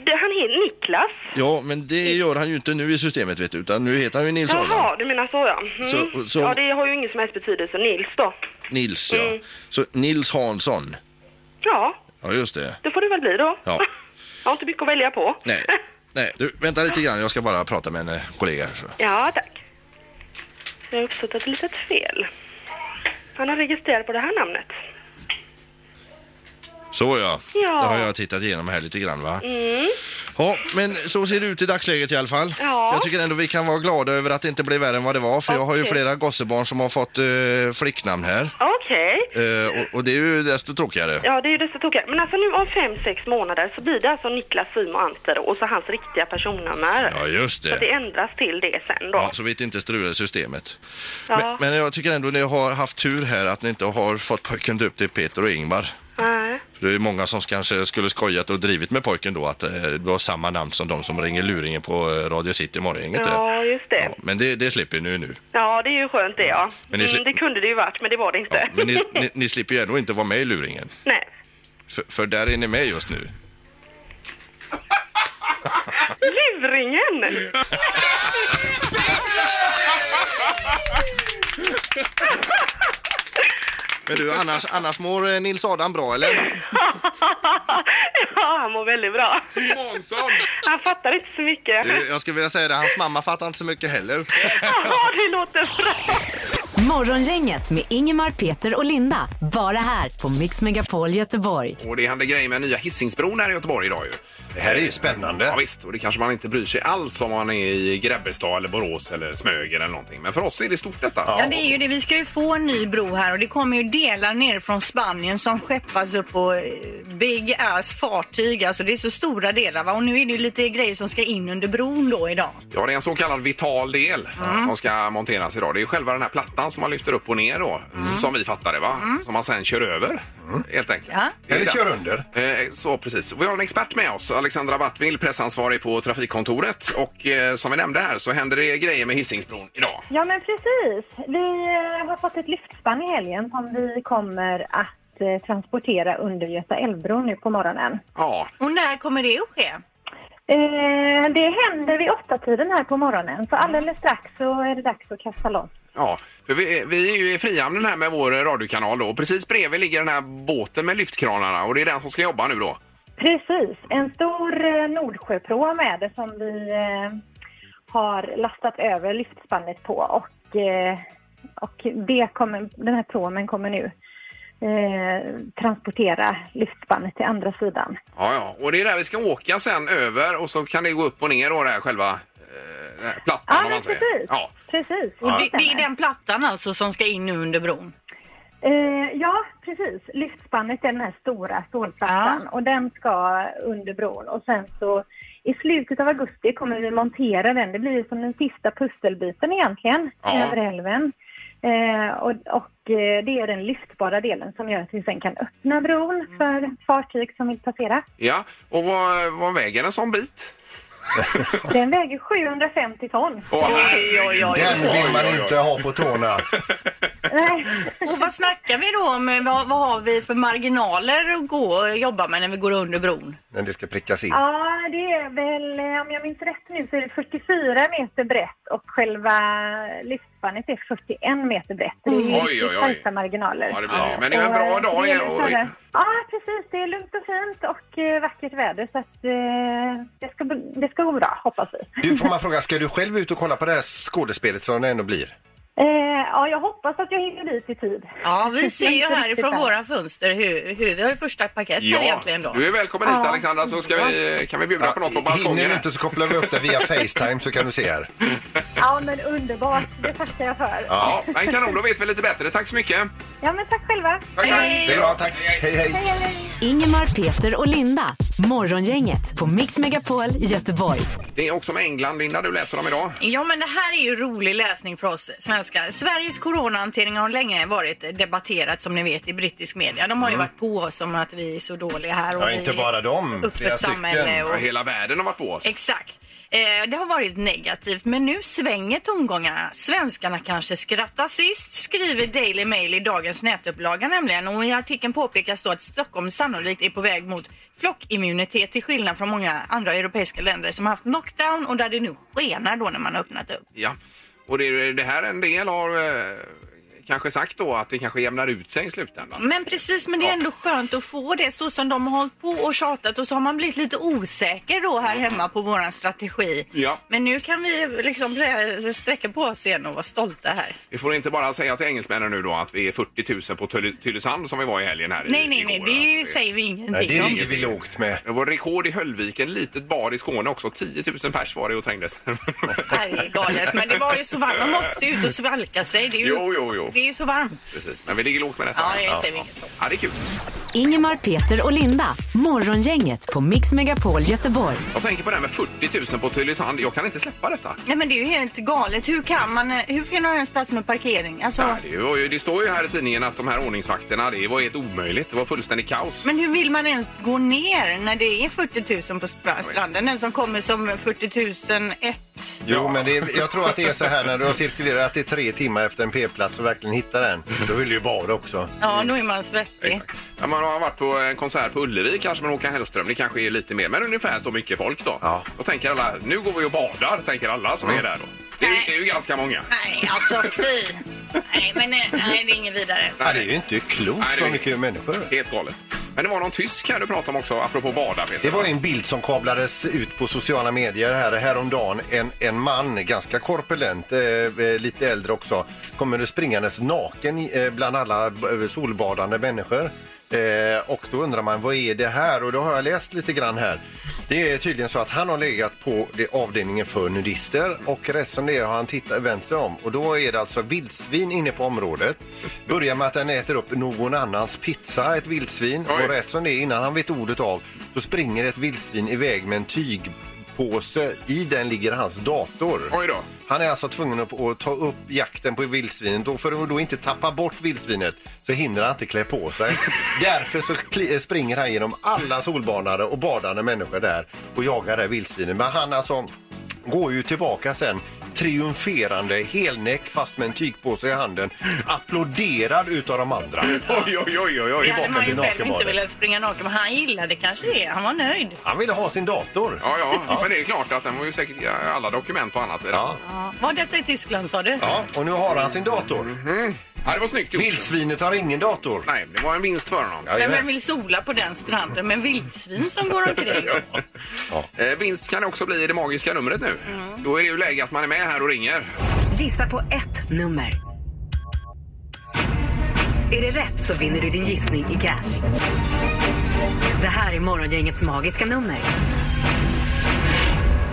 Speaker 8: det, han heter Niklas.
Speaker 9: Ja, men det gör han ju inte nu i systemet vet du, utan nu heter han ju Nils Adam.
Speaker 8: Jaha, du menar så ja. Mm.
Speaker 9: Så- så-
Speaker 8: Ja, det har ju ingen som helst betydelse. Nils då.
Speaker 9: Nils, ja. Så Nils Hansson.
Speaker 8: Ja,
Speaker 9: Ja, just det.
Speaker 8: det får det väl bli då.
Speaker 9: Ja.
Speaker 8: Jag har inte mycket att välja på.
Speaker 9: Nej, nej. Du, vänta lite grann, jag ska bara prata med en eh, kollega. här, Så.
Speaker 8: Ja, tack. Det har uppstått ett litet fel. Han har registrerat på det här namnet.
Speaker 9: så ja,
Speaker 8: Ja.
Speaker 9: det har jag tittat igenom här lite grann va?
Speaker 8: Mm.
Speaker 9: Ja, men så ser det ut i dagsläget i alla fall.
Speaker 8: Ja.
Speaker 9: Jag tycker ändå vi kan vara glada över att det inte blev värre än vad det var, för jag har ju
Speaker 8: Okej.
Speaker 9: flera gossebarn som har fått eh, flicknamn här.
Speaker 8: Okej.
Speaker 9: Eh, och, och det är ju desto tråkigare.
Speaker 8: Ja, det är ju desto tokigare. Men alltså nu om fem, sex månader så blir det alltså Niklas Simon Anter och så hans riktiga personnummer.
Speaker 9: Ja, just
Speaker 8: Så att det
Speaker 9: det.
Speaker 8: ändras till det sen då.
Speaker 9: Ja, så vi inte strular systemet.
Speaker 8: Ja.
Speaker 9: Men, men jag tycker ändå ni har haft tur här att ni inte har fått pojken döpt till Peter och Ingvar.
Speaker 8: Nej.
Speaker 9: För det är många som kanske skulle skojat och drivit med pojken då att eh, det var samma namn som de som ringer luringen på eh, Radio City morgongänget där.
Speaker 8: Ja, just det.
Speaker 9: Men det, det slipper ni ju nu.
Speaker 8: Ja, det är ju skönt det ja.
Speaker 9: Men ni sli-
Speaker 8: Mm, det kunde det ju varit, men det var det inte.
Speaker 9: Men ni, ni, ni slipper ju ändå inte vara med i luringen.
Speaker 8: Nej.
Speaker 9: För, för där är ni med just nu.
Speaker 8: Luringen!
Speaker 9: Men du, annars, annars mår eh, Nils Adam bra eller?
Speaker 8: ja, han mår väldigt bra.
Speaker 1: Månsson!
Speaker 8: Han fattar inte så mycket.
Speaker 9: Du, jag skulle vilja säga det, hans mamma fattar inte så mycket heller.
Speaker 8: Ja, det låter bra.
Speaker 6: Morgongänget med Ingemar, Peter och Linda. Bara här på Mix Megapol Göteborg.
Speaker 1: Och det händer grejer med nya Hisingsbron här i Göteborg idag ju. Det
Speaker 2: här är ju spännande.
Speaker 1: Ja, visst, och det kanske man inte bryr sig alls om man är i Grebbestad eller Borås eller Smögen eller någonting. Men för oss är det stort detta.
Speaker 3: Ja, det är ju det. Vi ska ju få en ny bro här och det kommer ju delar ner från Spanien som skeppas upp på eh, big ass fartyg. Alltså det är så stora delar va? och nu är det ju lite grejer som ska in under bron då idag.
Speaker 1: Ja, det är en så kallad vital del
Speaker 2: Mm.
Speaker 1: som ska monteras idag. Det är själva den här plattan som man lyfter upp och ner då,
Speaker 2: Mm.
Speaker 1: som vi fattar det va? Som man sen kör över, helt enkelt.
Speaker 3: Ja.
Speaker 1: Det är
Speaker 2: Eller
Speaker 1: den.
Speaker 2: kör under.
Speaker 1: Eh, Så precis. Vi har en expert med oss, Alexandra Wattvill, pressansvarig på Trafikkontoret. Och eh, som vi nämnde här så händer det grejer med Hisingsbron idag.
Speaker 11: Ja, men precis. Vi eh, har fått ett lyftspann i helgen som vi kommer att eh, transportera under Göta älvbro nu på morgonen.
Speaker 1: Ja.
Speaker 3: Och när kommer det att ske?
Speaker 11: Eh, det händer vid åtta tiden här på morgonen, så alldeles strax så är det dags att kasta loss.
Speaker 1: Ja, för vi, vi är ju i Frihamnen här med vår radiokanal då. Och Precis bredvid ligger den här båten med lyftkranarna och det är den som ska jobba nu då.
Speaker 11: Precis. En stor eh, Nordsjöpråm är det som vi eh, har lastat över lyftspannet på och, eh, och det kommer, den här pråmen kommer nu eh, transportera lyftspannet till andra sidan.
Speaker 1: Ja, ja, och det är där vi ska åka sen över och så kan det gå upp och ner då det här själva eh, den här plattan
Speaker 11: Ja,
Speaker 1: om
Speaker 11: men
Speaker 1: man säger.
Speaker 11: precis.
Speaker 1: Ja.
Speaker 11: Precis.
Speaker 3: Och det, det är den plattan alltså som ska in nu under bron?
Speaker 11: Eh, ja, precis. Lyftspannet är den här stora stålplattan och den ska under bron. Och sen så i slutet av augusti kommer vi montera den. Det blir ju som den sista pusselbiten egentligen
Speaker 10: Ja.
Speaker 11: över älven. Eh, och och eh, det är den lyftbara delen som gör att vi sen kan öppna bron
Speaker 3: Mm.
Speaker 11: för fartyg som vill passera.
Speaker 1: ja, och vad, vad väger en sån bit?
Speaker 11: Den väger 750 ton.
Speaker 1: Åh,
Speaker 2: Den vill man inte ha på tårna.
Speaker 3: Och vad snackar vi då om? Eh, Vad, vad har vi för marginaler att gå och jobba med när vi går under bron?
Speaker 2: Men det ska prickas in.
Speaker 11: Ja, det är väl, eh, om jag minns rätt nu, så är det 44 meter brett och själva lyftspannet är 41 meter brett. Det är
Speaker 1: Oj,
Speaker 11: riktigt
Speaker 1: oj, oj.
Speaker 11: tajta marginaler.
Speaker 1: Ja, det blir det. Men det är en bra
Speaker 11: Och,
Speaker 1: dag
Speaker 11: eh,
Speaker 1: i-
Speaker 11: det är
Speaker 1: och-
Speaker 11: lite- Ja, precis. Det är lugnt och fint och eh, vackert väder så att eh, det, ska, det ska gå bra, hoppas vi.
Speaker 2: Du får man fråga, ska du själv ut och kolla på det här skådespelet som det ändå blir?
Speaker 11: Eh, ja, jag hoppas att jag hinner dit i tid.
Speaker 3: Ja, vi ser ju
Speaker 11: Inte
Speaker 3: här
Speaker 11: riktigt
Speaker 3: ifrån
Speaker 11: än.
Speaker 3: våra fönster hur, hur vi har ju första paket här egentligen då.
Speaker 1: du är välkommen hit
Speaker 11: Ja.
Speaker 1: Alexandra så ska vi, eh, kan vi bjuda på något på
Speaker 2: Hinner
Speaker 1: balkongen.
Speaker 2: du inte så kopplar vi upp det via Facetime så kan du se här.
Speaker 11: Ja, men underbart. Det tackar jag för.
Speaker 1: Ja, men kanon, då vet vi lite bättre. Tack så mycket.
Speaker 11: Ja, men tack själva.
Speaker 2: Det är bra, tack. Hej, hej.
Speaker 6: Ingemar, Peter och Linda. Morgongänget på Mix Megapol Göteborg.
Speaker 1: Det är också med England, Linda, du läser om idag.
Speaker 3: Ja, men det här är ju rolig läsning för oss svenskar. Sveriges coronahantering har länge varit debatterat som ni vet i brittisk media. De har ju
Speaker 2: Mm.
Speaker 3: varit på oss om att vi är så dåliga här. Och
Speaker 2: Ja,
Speaker 3: vi
Speaker 2: inte
Speaker 3: är
Speaker 2: bara dem.
Speaker 3: öppet
Speaker 2: Flera
Speaker 3: samhälle
Speaker 2: stycken.
Speaker 3: och-
Speaker 1: Ja, Hela världen har varit på oss.
Speaker 3: Exakt. Eh, det har varit negativt, men nu svänger tongångarna. Svenskarna kanske skrattar sist, skriver Daily Mail i dagens nätupplaga nämligen. Och i artikeln påpekas då att Stockholm sannolikt är på väg mot flockimmunitet till skillnad från många andra europeiska länder som har haft knockdown och där det nu skenar då när man har öppnat upp.
Speaker 1: Ja, och det, det här en del har eh, kanske sagt då att det kanske jämnar ut sig i slutändan.
Speaker 3: Men precis, men det är ändå skönt att få det så som de har hållit på och tjatat och så har man blivit lite osäker då här hemma på våran strategi.
Speaker 1: Ja.
Speaker 3: Men nu kan vi liksom blä- sträcka på oss igen och vara stolta här.
Speaker 1: Vi får inte bara säga till engelsmännen nu då att vi är 40 000 på Tyl- Tylösand som vi var i helgen här i-
Speaker 3: Nej, nej,
Speaker 1: igår,
Speaker 3: nej,
Speaker 1: alltså.
Speaker 3: det säger vi ingenting om.
Speaker 1: lågt med. Det var rekord i Höllviken, litet bar i Skåne också. 10 000 pers var det och trängdes.
Speaker 3: Nej, det är galet. Men det var ju så varmt. Man måste ju ut och svalka sig. Det är ju,
Speaker 1: Jo, jo, jo.
Speaker 3: Det det är ju så varmt.
Speaker 1: Precis, men vi ligger lågt med detta.
Speaker 3: Ja, det ser vi.
Speaker 1: Ja, det är kul.
Speaker 6: Ingemar, Peter och Linda. Morgongänget på Mix Megapol Göteborg.
Speaker 1: Jag tänker på det här med 40 000 på Tylösand. Jag kan inte släppa detta.
Speaker 3: Nej men det är ju helt galet. Hur kan man, hur får man ens plats med parkering? Alltså,
Speaker 1: Nej, Det, var ju, det står ju här i tidningen att de här ordningsvakterna, det var helt omöjligt. Det var fullständigt kaos.
Speaker 3: men hur vill man ens gå ner när det är 40 000 på spra- stranden? Den som kommer som 40 000 ett.
Speaker 2: Jo, men det är, jag tror att det är så här när du har cirkulerat i tre timmar efter en p-plats och verkligen hittar den. Då vill du ju bara också.
Speaker 3: Ja, då är man svettig.
Speaker 1: Ja, man har varit på en konsert på Ullevi kanske med Håkan Hellström. Det kanske är lite mer, men ungefär så mycket folk då. Ja. Då tänker alla, nu går vi och badar, tänker alla som
Speaker 2: Mm.
Speaker 1: är där då. Det är, det är ju ganska många.
Speaker 3: Nej, alltså fy. Nej, men nej, nej, det är inget vidare.
Speaker 2: Nej, det är ju inte klokt
Speaker 1: Nej, det
Speaker 2: så
Speaker 1: är-
Speaker 2: mycket människor.
Speaker 1: Helt galet. Men det var någon tysk här du pratade om också, apropå bada. Peter.
Speaker 2: Det var en bild som kablades ut på sociala medier här häromdagen. En, en man, ganska korpulent, eh, eh, lite äldre också, kommer springandes naken i- eh, bland alla eh, solbadande människor. Eh, och då undrar man vad är det här? Och då har jag läst lite grann här. Det är tydligen så att han har legat på det, avdelningen för nudister och rätt som det är har han tittat, vänt sig om och då är det alltså vildsvin inne på området. Börjar med att den äter upp någon annans pizza, ett vildsvin.
Speaker 1: Oj.
Speaker 2: Och rätt som det är, innan han vet ordet av, så springer ett vildsvin iväg med en tygpåse. I den ligger hans dator.
Speaker 1: Oj då.
Speaker 2: Han är alltså tvungen att att ta upp jakten på vildsvinet. Då för att då inte tappa bort vildsvinet så hinner han inte klä på sig. Därför så kli- eh, springer han genom alla solbanade och badande människor där och jagar det här vildsvinet. Men han alltså går ju tillbaka sen triumferande, helnäck fast med en tygpåse i handen. Applåderad utav de andra.
Speaker 1: Oj, oj, oj, oj, oj.
Speaker 3: Det hade man ju själv inte
Speaker 2: nakenbadet.
Speaker 3: velat springa naken, men han gillade kanske det. Han var nöjd.
Speaker 2: Han ville ha sin dator.
Speaker 1: Ja, ja, men det är klart att den var ju säkert ja, alla dokument och annat. Ja.
Speaker 3: Ja. Var detta i Tyskland sa du?
Speaker 2: Ja, och nu har han sin dator.
Speaker 1: Mm. Ja, det var snyggt gjort.
Speaker 2: Vildsvinet har ingen dator.
Speaker 1: Nej, det var en vinst för honom.
Speaker 3: Men vem vill sola på den stranden med vildsvin som går omkring?
Speaker 1: Eh, vinst kan det också bli i det magiska numret nu.
Speaker 3: Mm.
Speaker 1: Då är det ju läge att man är med här och ringer.
Speaker 4: Gissa på ett nummer. Är det rätt så vinner du din gissning i cash. Det här är Morgongängets magiska nummer.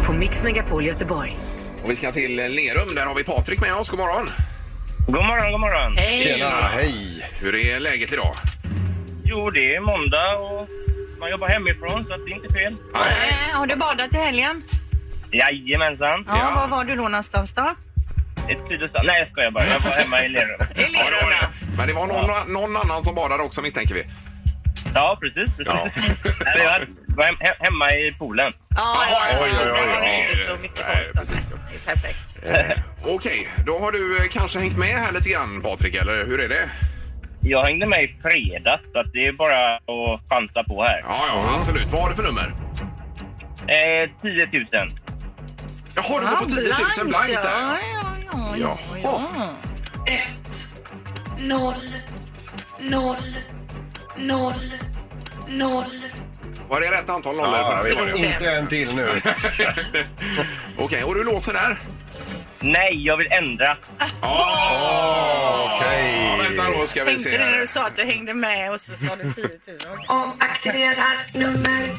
Speaker 4: På Mix Megapol Göteborg.
Speaker 1: Och vi ska till Lerum. Där har vi Patrik med oss. God morgon!
Speaker 5: God morgon, god morgon.
Speaker 3: Hej!
Speaker 2: hej!
Speaker 1: Hur är läget idag?
Speaker 5: Jo, det är måndag och man jobbar hemifrån så att det är inte fel.
Speaker 3: Eh, Har du badat i helgen?
Speaker 5: Jajamensan.
Speaker 3: Ja, Var var du då någonstans då?
Speaker 5: Ett Tylösand. Nej, jag skojar bara. Jag var hemma i Lerum.
Speaker 1: Ja, det var det. Men det var någon, någon annan som badade också misstänker vi.
Speaker 5: Ja, precis. precis.
Speaker 1: Ja.
Speaker 5: Nej, jag var hem, he- hemma i poolen.
Speaker 3: Ja, ja,
Speaker 1: Oj, oj, oj,
Speaker 3: det var
Speaker 1: oj.
Speaker 3: inte så mycket
Speaker 1: Nej, precis.
Speaker 3: folk. Perfekt.
Speaker 1: Eh, Okej, då har du eh, kanske hängt med här lite grann Patrik, eller hur är det?
Speaker 5: Jag hängde med i fredags, så att det är bara att chansa på här.
Speaker 1: Ja, ja, absolut. Vad har du för nummer?
Speaker 5: Eh, 10 000.
Speaker 1: Jag har du
Speaker 3: Ja,
Speaker 1: går på 10 000
Speaker 3: blankt,
Speaker 1: blankt där.
Speaker 3: ja, ja,
Speaker 1: Jaha.
Speaker 3: ja, ja,
Speaker 10: Noll, noll, noll, noll.
Speaker 1: Var det rätt antal nollor? på den här frågan?
Speaker 2: inte en till nu.
Speaker 1: Okej, och du låser där?
Speaker 5: Nej, jag vill ändra.
Speaker 1: Oh, Okej. Vänta då ska vi
Speaker 3: Tänkte
Speaker 1: se
Speaker 3: du när
Speaker 1: här.
Speaker 3: du sa att du hängde med och så sa du 10 000?
Speaker 10: Avaktiverar nummer.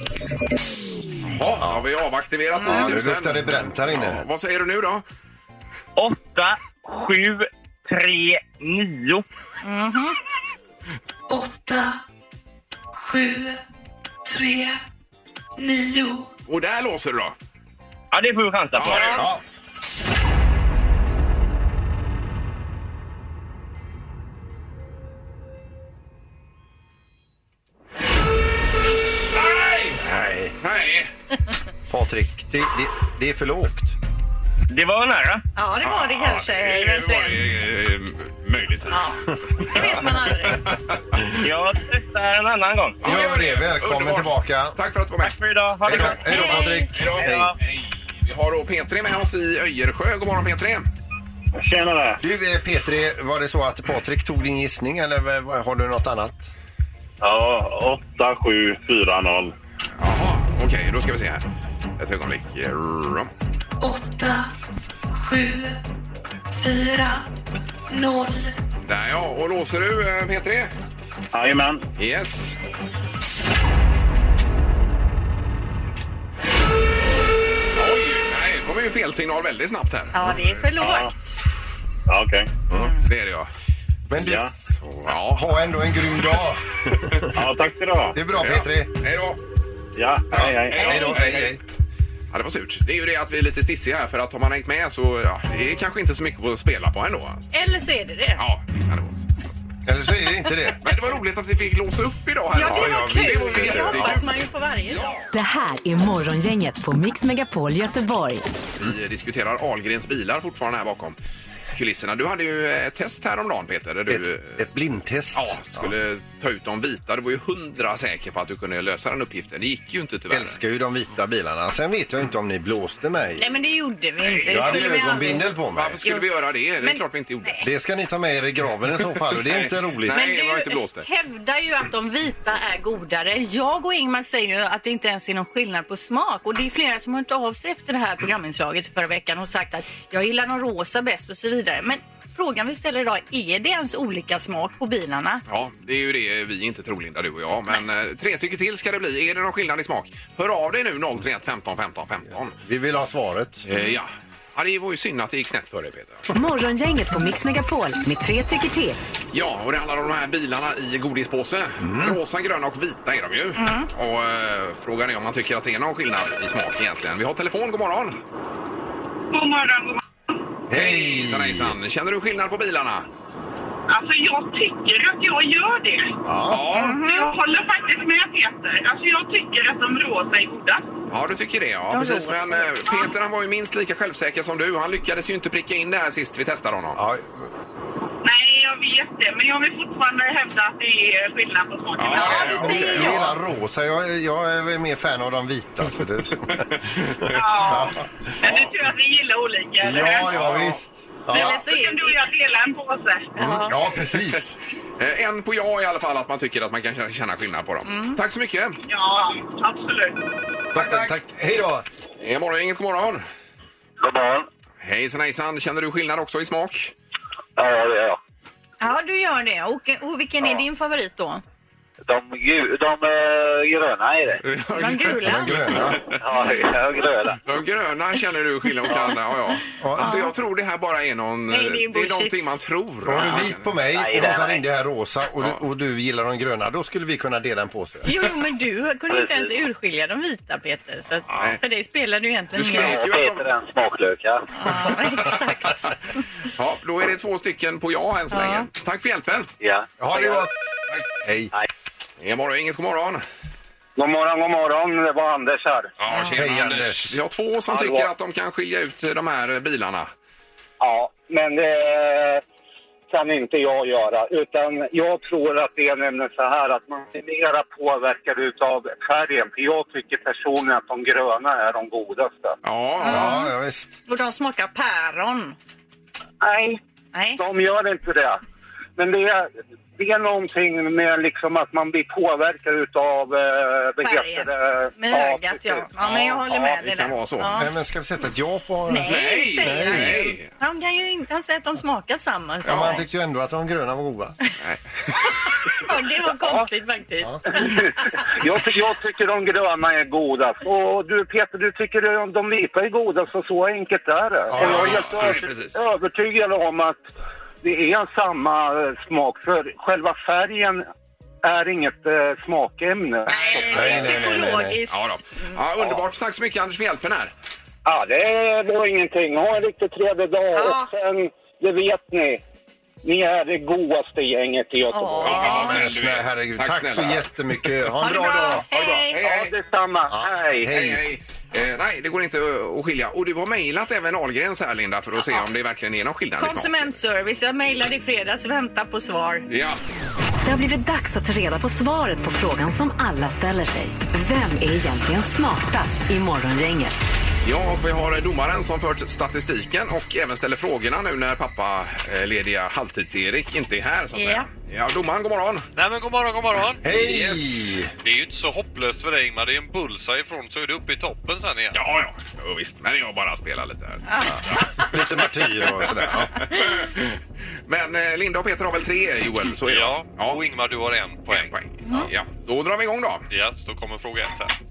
Speaker 1: Ja, har vi avaktiverat 10 000?
Speaker 2: Ja, nu luktar det bränt här inne.
Speaker 1: Ja, vad säger du nu då?
Speaker 5: 8, 7, 3, 9.
Speaker 11: Mm-hmm.
Speaker 10: Åtta, sju, tre, nio.
Speaker 1: Och där låser du då?
Speaker 5: Ja, det får vi chansa på.
Speaker 1: Ja, det är bra.
Speaker 2: Nej,
Speaker 1: Nej.
Speaker 2: Patrik, det, det, det är för lågt.
Speaker 5: Det var nära.
Speaker 3: Ja, det var det eh, kanske eventuellt.
Speaker 1: Möjligtvis.
Speaker 3: Det vet man aldrig.
Speaker 5: Jag testar en annan gång.
Speaker 2: Gör, det. Välkommen tillbaka.
Speaker 1: Tack för att du var med.
Speaker 5: Tack för idag. Ha det
Speaker 2: Hej då,
Speaker 5: gott.
Speaker 2: hej då Patrik.
Speaker 1: Hej. Hej. Vi har då P3 med oss i Öjersjö. God morgon P3!
Speaker 5: Tjenare.
Speaker 2: Du eh, Petri, var det så att Patrik tog din gissning eller v- v- har du något annat?
Speaker 5: Ja, 8, 7, 4, 0.
Speaker 1: Okej, då ska vi se här. Ett ögonblick.
Speaker 10: Åtta, sju, fyra, noll.
Speaker 1: Där ja, och låser du eh, P3?
Speaker 5: Jajamän.
Speaker 1: Yes. Oj, nej, det kommer ju fel signal väldigt snabbt här.
Speaker 3: Ja, det är för lågt.
Speaker 5: Ja, okej.
Speaker 1: Mm, Det är det ja.
Speaker 2: Men du,
Speaker 1: Ja.
Speaker 2: ha ändå en grym dag.
Speaker 5: Ja, tack ska du ha.
Speaker 2: Det är bra Petri.
Speaker 1: Hej då.
Speaker 5: Ja, hej, hej.
Speaker 1: Hej då, hej, hej. Ja, det var surt. Det är ju det att vi är lite stissiga här för att har man hängt med så ja, det är kanske inte så mycket att spela på ändå.
Speaker 3: Eller så är det det.
Speaker 1: Ja, det kan det vara.
Speaker 2: Eller så är det inte det.
Speaker 1: Men det var roligt att vi fick låsa upp idag. Här
Speaker 3: Ja, det var
Speaker 1: kul. Det var
Speaker 3: kul. Det
Speaker 1: jättekul.
Speaker 3: hoppas man ju på varje dag.
Speaker 6: Det här är Morgongänget på Mix Megapol Göteborg.
Speaker 1: Vi diskuterar Ahlgrens bilar fortfarande här bakom kulisserna. Du hade ju eh, ett test häromdagen Peter. Där du, ett,
Speaker 2: blindtest.
Speaker 1: Ja, skulle ta ut de vita. Du var ju hundra säker på att du kunde lösa den uppgiften. Det gick ju inte tyvärr.
Speaker 2: Älskar ju de vita bilarna. Sen vet jag inte om ni blåste mig.
Speaker 3: Nej, men det gjorde vi inte.
Speaker 2: Jag hade
Speaker 3: skulle vi
Speaker 2: ögonbindel
Speaker 3: aldrig-
Speaker 2: på mig.
Speaker 1: Varför skulle vi göra det? Det är
Speaker 3: Men-
Speaker 1: klart vi inte gjorde.
Speaker 2: Det ska ni ta med er i graven i så fall och det är inte roligt.
Speaker 3: Men hävdar ju att de vita är godare. Jag och Ingmar säger ju att det inte ens är någon skillnad på smak. Och det är flera som har hört av sig efter det här programinslaget förra veckan och sagt att jag gillar de rosa bäst och så vidare. Men frågan vi ställer idag, är det ens olika smak på bilarna?
Speaker 1: Ja, det är ju det vi inte tror Linda, du och jag. Men eh, tre tycker till ska det bli. Är det någon skillnad i smak? Hör av dig nu 031 15 15 15.
Speaker 2: Vi vill ha svaret.
Speaker 1: Eh, ja. ja, det var ju synd att det gick snett för dig Peter.
Speaker 6: Morgongänget på Mix Megapol med tre tycker till.
Speaker 1: Ja, och det handlar om de här bilarna i godispåse.
Speaker 2: Mm.
Speaker 1: Rosa, gröna och vita är de ju.
Speaker 3: Mm.
Speaker 1: Och eh, frågan är om man tycker att det är någon skillnad i smak egentligen. Vi har telefon, god morgon.
Speaker 10: God morgon, god morgon.
Speaker 1: Hejsan hejsan. Känner du skillnad på bilarna?
Speaker 10: Alltså jag tycker att jag gör det. Mm-hmm.
Speaker 1: Ja.
Speaker 10: Jag håller faktiskt med Peter. Alltså jag tycker att de rosa är goda.
Speaker 1: Ja, du tycker det ja.
Speaker 10: Ja,
Speaker 1: Precis.
Speaker 10: rosa.
Speaker 1: Men eh, Peter han var ju minst lika självsäker som du. Han lyckades ju inte pricka in det här sist vi testade honom.
Speaker 10: Nej, jag vet det. Men jag vill fortfarande hävda att det är skillnad på smakerna.
Speaker 2: Ja, okej. Jag gillar rosa. Jag, jag är mer fan av de vita. Så det...
Speaker 10: Ja. Men det är tur att vi gillar olika, eller
Speaker 2: Ja,
Speaker 10: hur?
Speaker 2: ja, visst. Ja. Mm,
Speaker 10: Eller så kan du och jag dela en påse.
Speaker 2: Ja, precis.
Speaker 1: Mm, Eh, en på ja i alla fall, att man tycker att man kan känna skillnad på dem. Tack så mycket.
Speaker 10: Ja, absolut.
Speaker 2: Mm. Tack, tack. Hej då.
Speaker 1: Eh, morgon, inget god morgon.
Speaker 12: God morgon.
Speaker 1: Hejsan hejsan. Känner du skillnad också i smak?
Speaker 12: Ja, det är jag.
Speaker 3: Ja, du gör det. Och, och vilken är din favorit då?
Speaker 12: De, gu- de eh, gröna är det.
Speaker 3: De gula?
Speaker 1: De gröna.
Speaker 12: Ja, ja, gröna.
Speaker 1: De gröna känner du skillnad mot andra, ja, ja. Alltså jag tror det här bara är någon... eh,
Speaker 2: Nej, det är
Speaker 1: det är
Speaker 2: bullshit.
Speaker 1: någonting man tror.
Speaker 2: Då har du vit på mig
Speaker 1: Nej,
Speaker 2: och
Speaker 1: nej,
Speaker 2: de som
Speaker 1: nej.
Speaker 2: ringde här rosa och du, och du gillar de gröna. Då skulle vi kunna dela en påse.
Speaker 3: Jo, jo, men du kunde ju inte ens urskilja de vita, Peter. Så att, för dig spelar du egentligen ingen roll.
Speaker 12: Peter är en smaklökar.
Speaker 1: Ja, då är det två stycken på ja än så
Speaker 3: Ja.
Speaker 1: länge. Tack för hjälpen.
Speaker 12: Ja.
Speaker 2: Ha det gott. Hej.
Speaker 1: Hej. morgon, inget god morgon.
Speaker 12: God morgon, god morgon. Det var Anders här.
Speaker 1: Ja, tjena
Speaker 12: Hej,
Speaker 1: Anders.
Speaker 12: Anders.
Speaker 1: Vi har två som
Speaker 12: Hallå.
Speaker 1: tycker att de kan skilja ut eh, de här eh, bilarna.
Speaker 12: Ja, men det kan inte jag göra. Utan jag tror att det är nämligen så här att man är mera påverkad utav färgen. För jag tycker personligen att de gröna är de godaste.
Speaker 1: Ja,
Speaker 2: ja, ja visst.
Speaker 3: Och de smakar päron.
Speaker 12: Nej.
Speaker 3: Nej.
Speaker 12: De gör inte det. Men det är, det är någonting med liksom att man blir påverkad utav eh, begreppet. eh,
Speaker 3: Med
Speaker 12: ja,
Speaker 3: ögat, ja.
Speaker 12: precis.
Speaker 3: Ja, men jag håller med dig där. Ja.
Speaker 2: Nej, men ska vi sätta ett ja på...
Speaker 3: Nej, säger han
Speaker 2: nej.
Speaker 3: ju. Han kan ju inte, han säger att de smakar samma.
Speaker 2: Ja,
Speaker 3: säger
Speaker 2: men han
Speaker 3: han.
Speaker 2: tyckte ju ändå att de gröna var goda.
Speaker 3: Ja, det var konstigt faktiskt.
Speaker 12: jag, ty- jag tycker de gröna är godast. Och du Peter, du tycker de- de vita är godast och så enkelt är det. och jag är
Speaker 1: visst,
Speaker 12: helt
Speaker 1: precis.
Speaker 12: ö- övertygad om att det är samma eh, smak. För själva färgen är inget eh, smakämne.
Speaker 1: Nej, nej, nej, nej, nej. Ja, då. ja, underbart. Tack så mycket Anders för hjälpen här.
Speaker 12: Ja, det var ingenting. Ha en riktigt trevlig dag. Och sen, det vet ni, ni är det godaste gänget i Göteborg.
Speaker 2: Ja, men snälla, herregud. Tack, så jättemycket. Mm. Ha en bra dag.
Speaker 12: Hej! Ja, detsamma. Hej!
Speaker 1: Hej, hej. Eh, nej, det går inte eh, att skilja. Och du har mejlat även Ahlgrens här, Linda, för att se om det verkligen är någon skillnad i smak.
Speaker 3: Konsumentservice. Jag mejlade i fredags. Vänta på svar.
Speaker 1: Ja.
Speaker 6: Det har blivit dags att ta reda på svaret på frågan som alla ställer sig. Vem är egentligen smartast i Morgongänget?
Speaker 1: Ja, och vi har domaren som fört statistiken och även ställer frågorna nu när pappa eh, lediga halvtids-Erik inte är här. eh, Så att säga. Ja, domaren, god morgon.
Speaker 13: Nej men god morgon, god morgon.
Speaker 1: Hej! Yes.
Speaker 13: Det är ju inte så hopplöst för dig Ingmar. Det är en bullseye ifrån så är du uppe i toppen sen igen.
Speaker 1: Ja, ja. Jo, visst, men jag bara spelar lite. här.
Speaker 2: Lite martyr och sådär. Ja.
Speaker 1: Men eh, Linda och Peter har väl tre, Joel? Så är det.
Speaker 13: Ja, och Ingmar du har en poäng. En poäng.
Speaker 1: Ja. Då drar vi igång då.
Speaker 13: Ja, då kommer fråga ett här.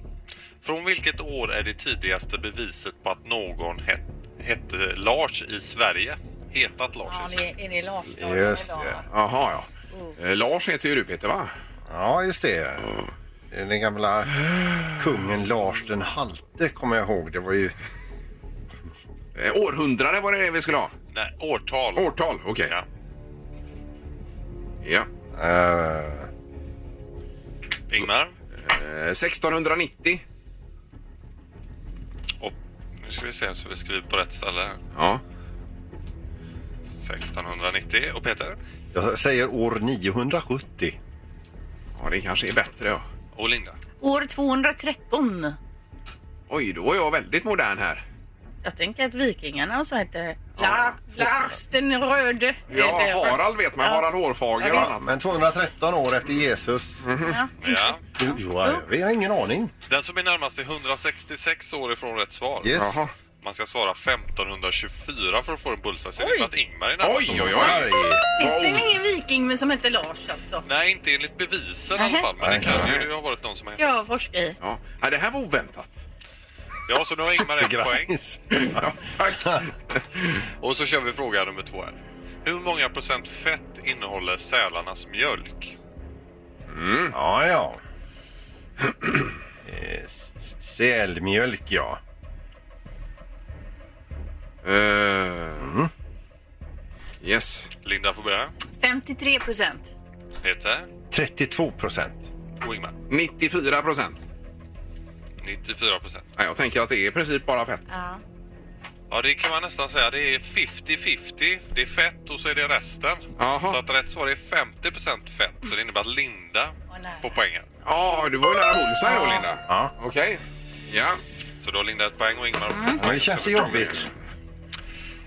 Speaker 13: Från vilket år är det tidigaste beviset på att någon het, hette Lars i Sverige? hetat Lars.
Speaker 3: Ja, det är det Lars
Speaker 2: Just det.
Speaker 1: Jaha, ja. Eh, Lars heter ju du Peter, va?
Speaker 2: Ja, just det. Den gamla kungen Lars den halte kommer jag ihåg. Det var ju...
Speaker 1: Eh, Århundrade var det det vi skulle ha?
Speaker 13: Nej, årtal.
Speaker 1: Årtal, okej. Ja.
Speaker 13: Eh. Ingmar?
Speaker 1: Eh, 1690.
Speaker 13: Nu ska vi se så vi skriver på rätt ställe. här.
Speaker 1: Ja.
Speaker 13: 1690. Och Peter?
Speaker 2: Jag säger år 970.
Speaker 1: Ja, det kanske är bättre. Ja.
Speaker 13: Och Linda?
Speaker 3: År 213.
Speaker 1: Oj, då är jag väldigt modern här.
Speaker 3: Jag tänker att vikingarna och så hette La- Lars den röde.
Speaker 1: Ja, Harald vet man. Harald Hårfager och annat.
Speaker 2: Men 213 år efter Jesus.
Speaker 13: Ja.
Speaker 2: Jo, jo, vi har ingen aning.
Speaker 13: Den som är närmast är 166 år ifrån rätt svar.
Speaker 2: Yes. Jaha.
Speaker 13: Man ska svara 1524 för att få en bullseye. Så det är att Ingmar är närmast.
Speaker 1: Oj, oj, oj.
Speaker 3: Finns det
Speaker 2: Oh.
Speaker 3: ingen viking med- som hette Lars alltså?
Speaker 13: Nej, inte enligt bevisen i alla fall. Men det kan ju ha varit någon som har
Speaker 3: Ska jag forska i?
Speaker 1: Ja. ja, det här var oväntat.
Speaker 13: Ja, så nu har Ingmar en poäng.
Speaker 1: Ja, tack.
Speaker 13: Och så kör vi fråga nummer två här. Hur många procent fett innehåller sälarnas mjölk?
Speaker 1: Mm.
Speaker 2: Ja, ja. Eh, s- s- Sälmjölk, ja.
Speaker 1: Mm. Eh. Yes.
Speaker 13: Linda får börja.
Speaker 3: 53 procent.
Speaker 13: Peter
Speaker 2: 32 procent.
Speaker 13: och Ingmar.
Speaker 1: 94 procent.
Speaker 13: 94 procent.
Speaker 1: Ja, jag tänker att det är i princip bara fett.
Speaker 3: Ja.
Speaker 13: Ja, det kan man nästan säga. Det är 50-50. Det är fett och så är det resten.
Speaker 1: Jaha.
Speaker 13: Så att rätt svar är 50 procent fett. Så det innebär att Linda får poängen.
Speaker 1: Ja, du var ju nära bullseye då, Linda.
Speaker 2: Ja.
Speaker 1: Okej. Ja. Mm.
Speaker 13: Så då har Linda ett poäng och Ingmar
Speaker 2: Ja, det känns jobbigt.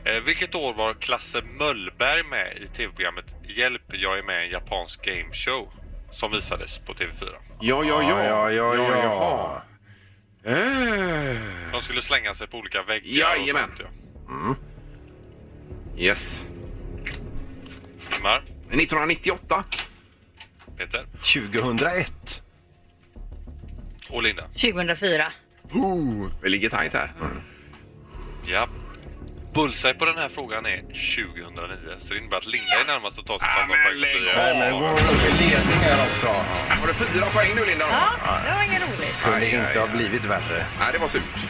Speaker 13: Eh, vilket år var Klasse Möllberg med i tv-programmet Hjälp, jag är med i en japansk gameshow? Som visades på TV4.
Speaker 1: Ja, ja, ja.
Speaker 2: Ja, ja, ja.
Speaker 1: jaha. Eh.
Speaker 13: De skulle slänga sig på olika väggar
Speaker 1: Jajamän.
Speaker 13: och sånt
Speaker 2: Mm.
Speaker 1: Yes.
Speaker 13: ja. Ingmar,
Speaker 1: 1998.
Speaker 13: Peter
Speaker 2: 2001.
Speaker 13: och Linda.
Speaker 3: 2004.
Speaker 1: Oh, vi ligger tajt här.
Speaker 2: Mm.
Speaker 13: Ja. Bullseye på den här frågan är 2009. Så det innebär att Linda är närmast att ta sig
Speaker 1: Ah,
Speaker 13: fram de poäng som vi har.
Speaker 2: Nej, men går upp i ledning här också.
Speaker 1: Har du fyra poäng nu, Linda?
Speaker 3: Ja, det var inget roligt.
Speaker 2: Kunde inte ha blivit värre.
Speaker 1: Nej, det var surt.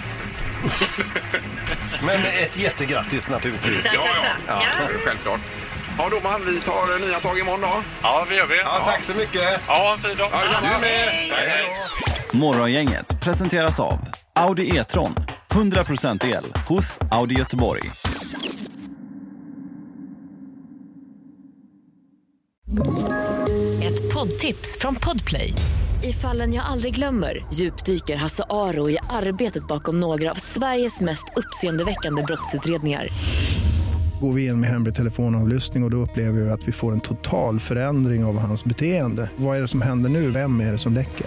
Speaker 2: Men ett jättegrattis naturligtvis.
Speaker 1: Ja, ja. ja. Självklart. Ja, domaren, vi tar eh, nya tag imorgon då.
Speaker 13: Ja, det gör vi.
Speaker 2: Ja, tack så mycket.
Speaker 13: Ja, ha en fin dag.
Speaker 1: Ja, detsamma.
Speaker 14: Morgongänget presenteras av Audi E-tron. 100% el hos Audi Göteborg.
Speaker 15: Ett poddtips från Podplay. I fallen jag aldrig glömmer djupdyker Hasse Aro i arbetet bakom några av Sveriges mest uppseendeväckande brottsutredningar.
Speaker 16: Går vi in med hemlig telefonavlyssning och, och då upplever vi att vi får en total förändring av hans beteende. Vad är det som händer nu? Vem är det som läcker?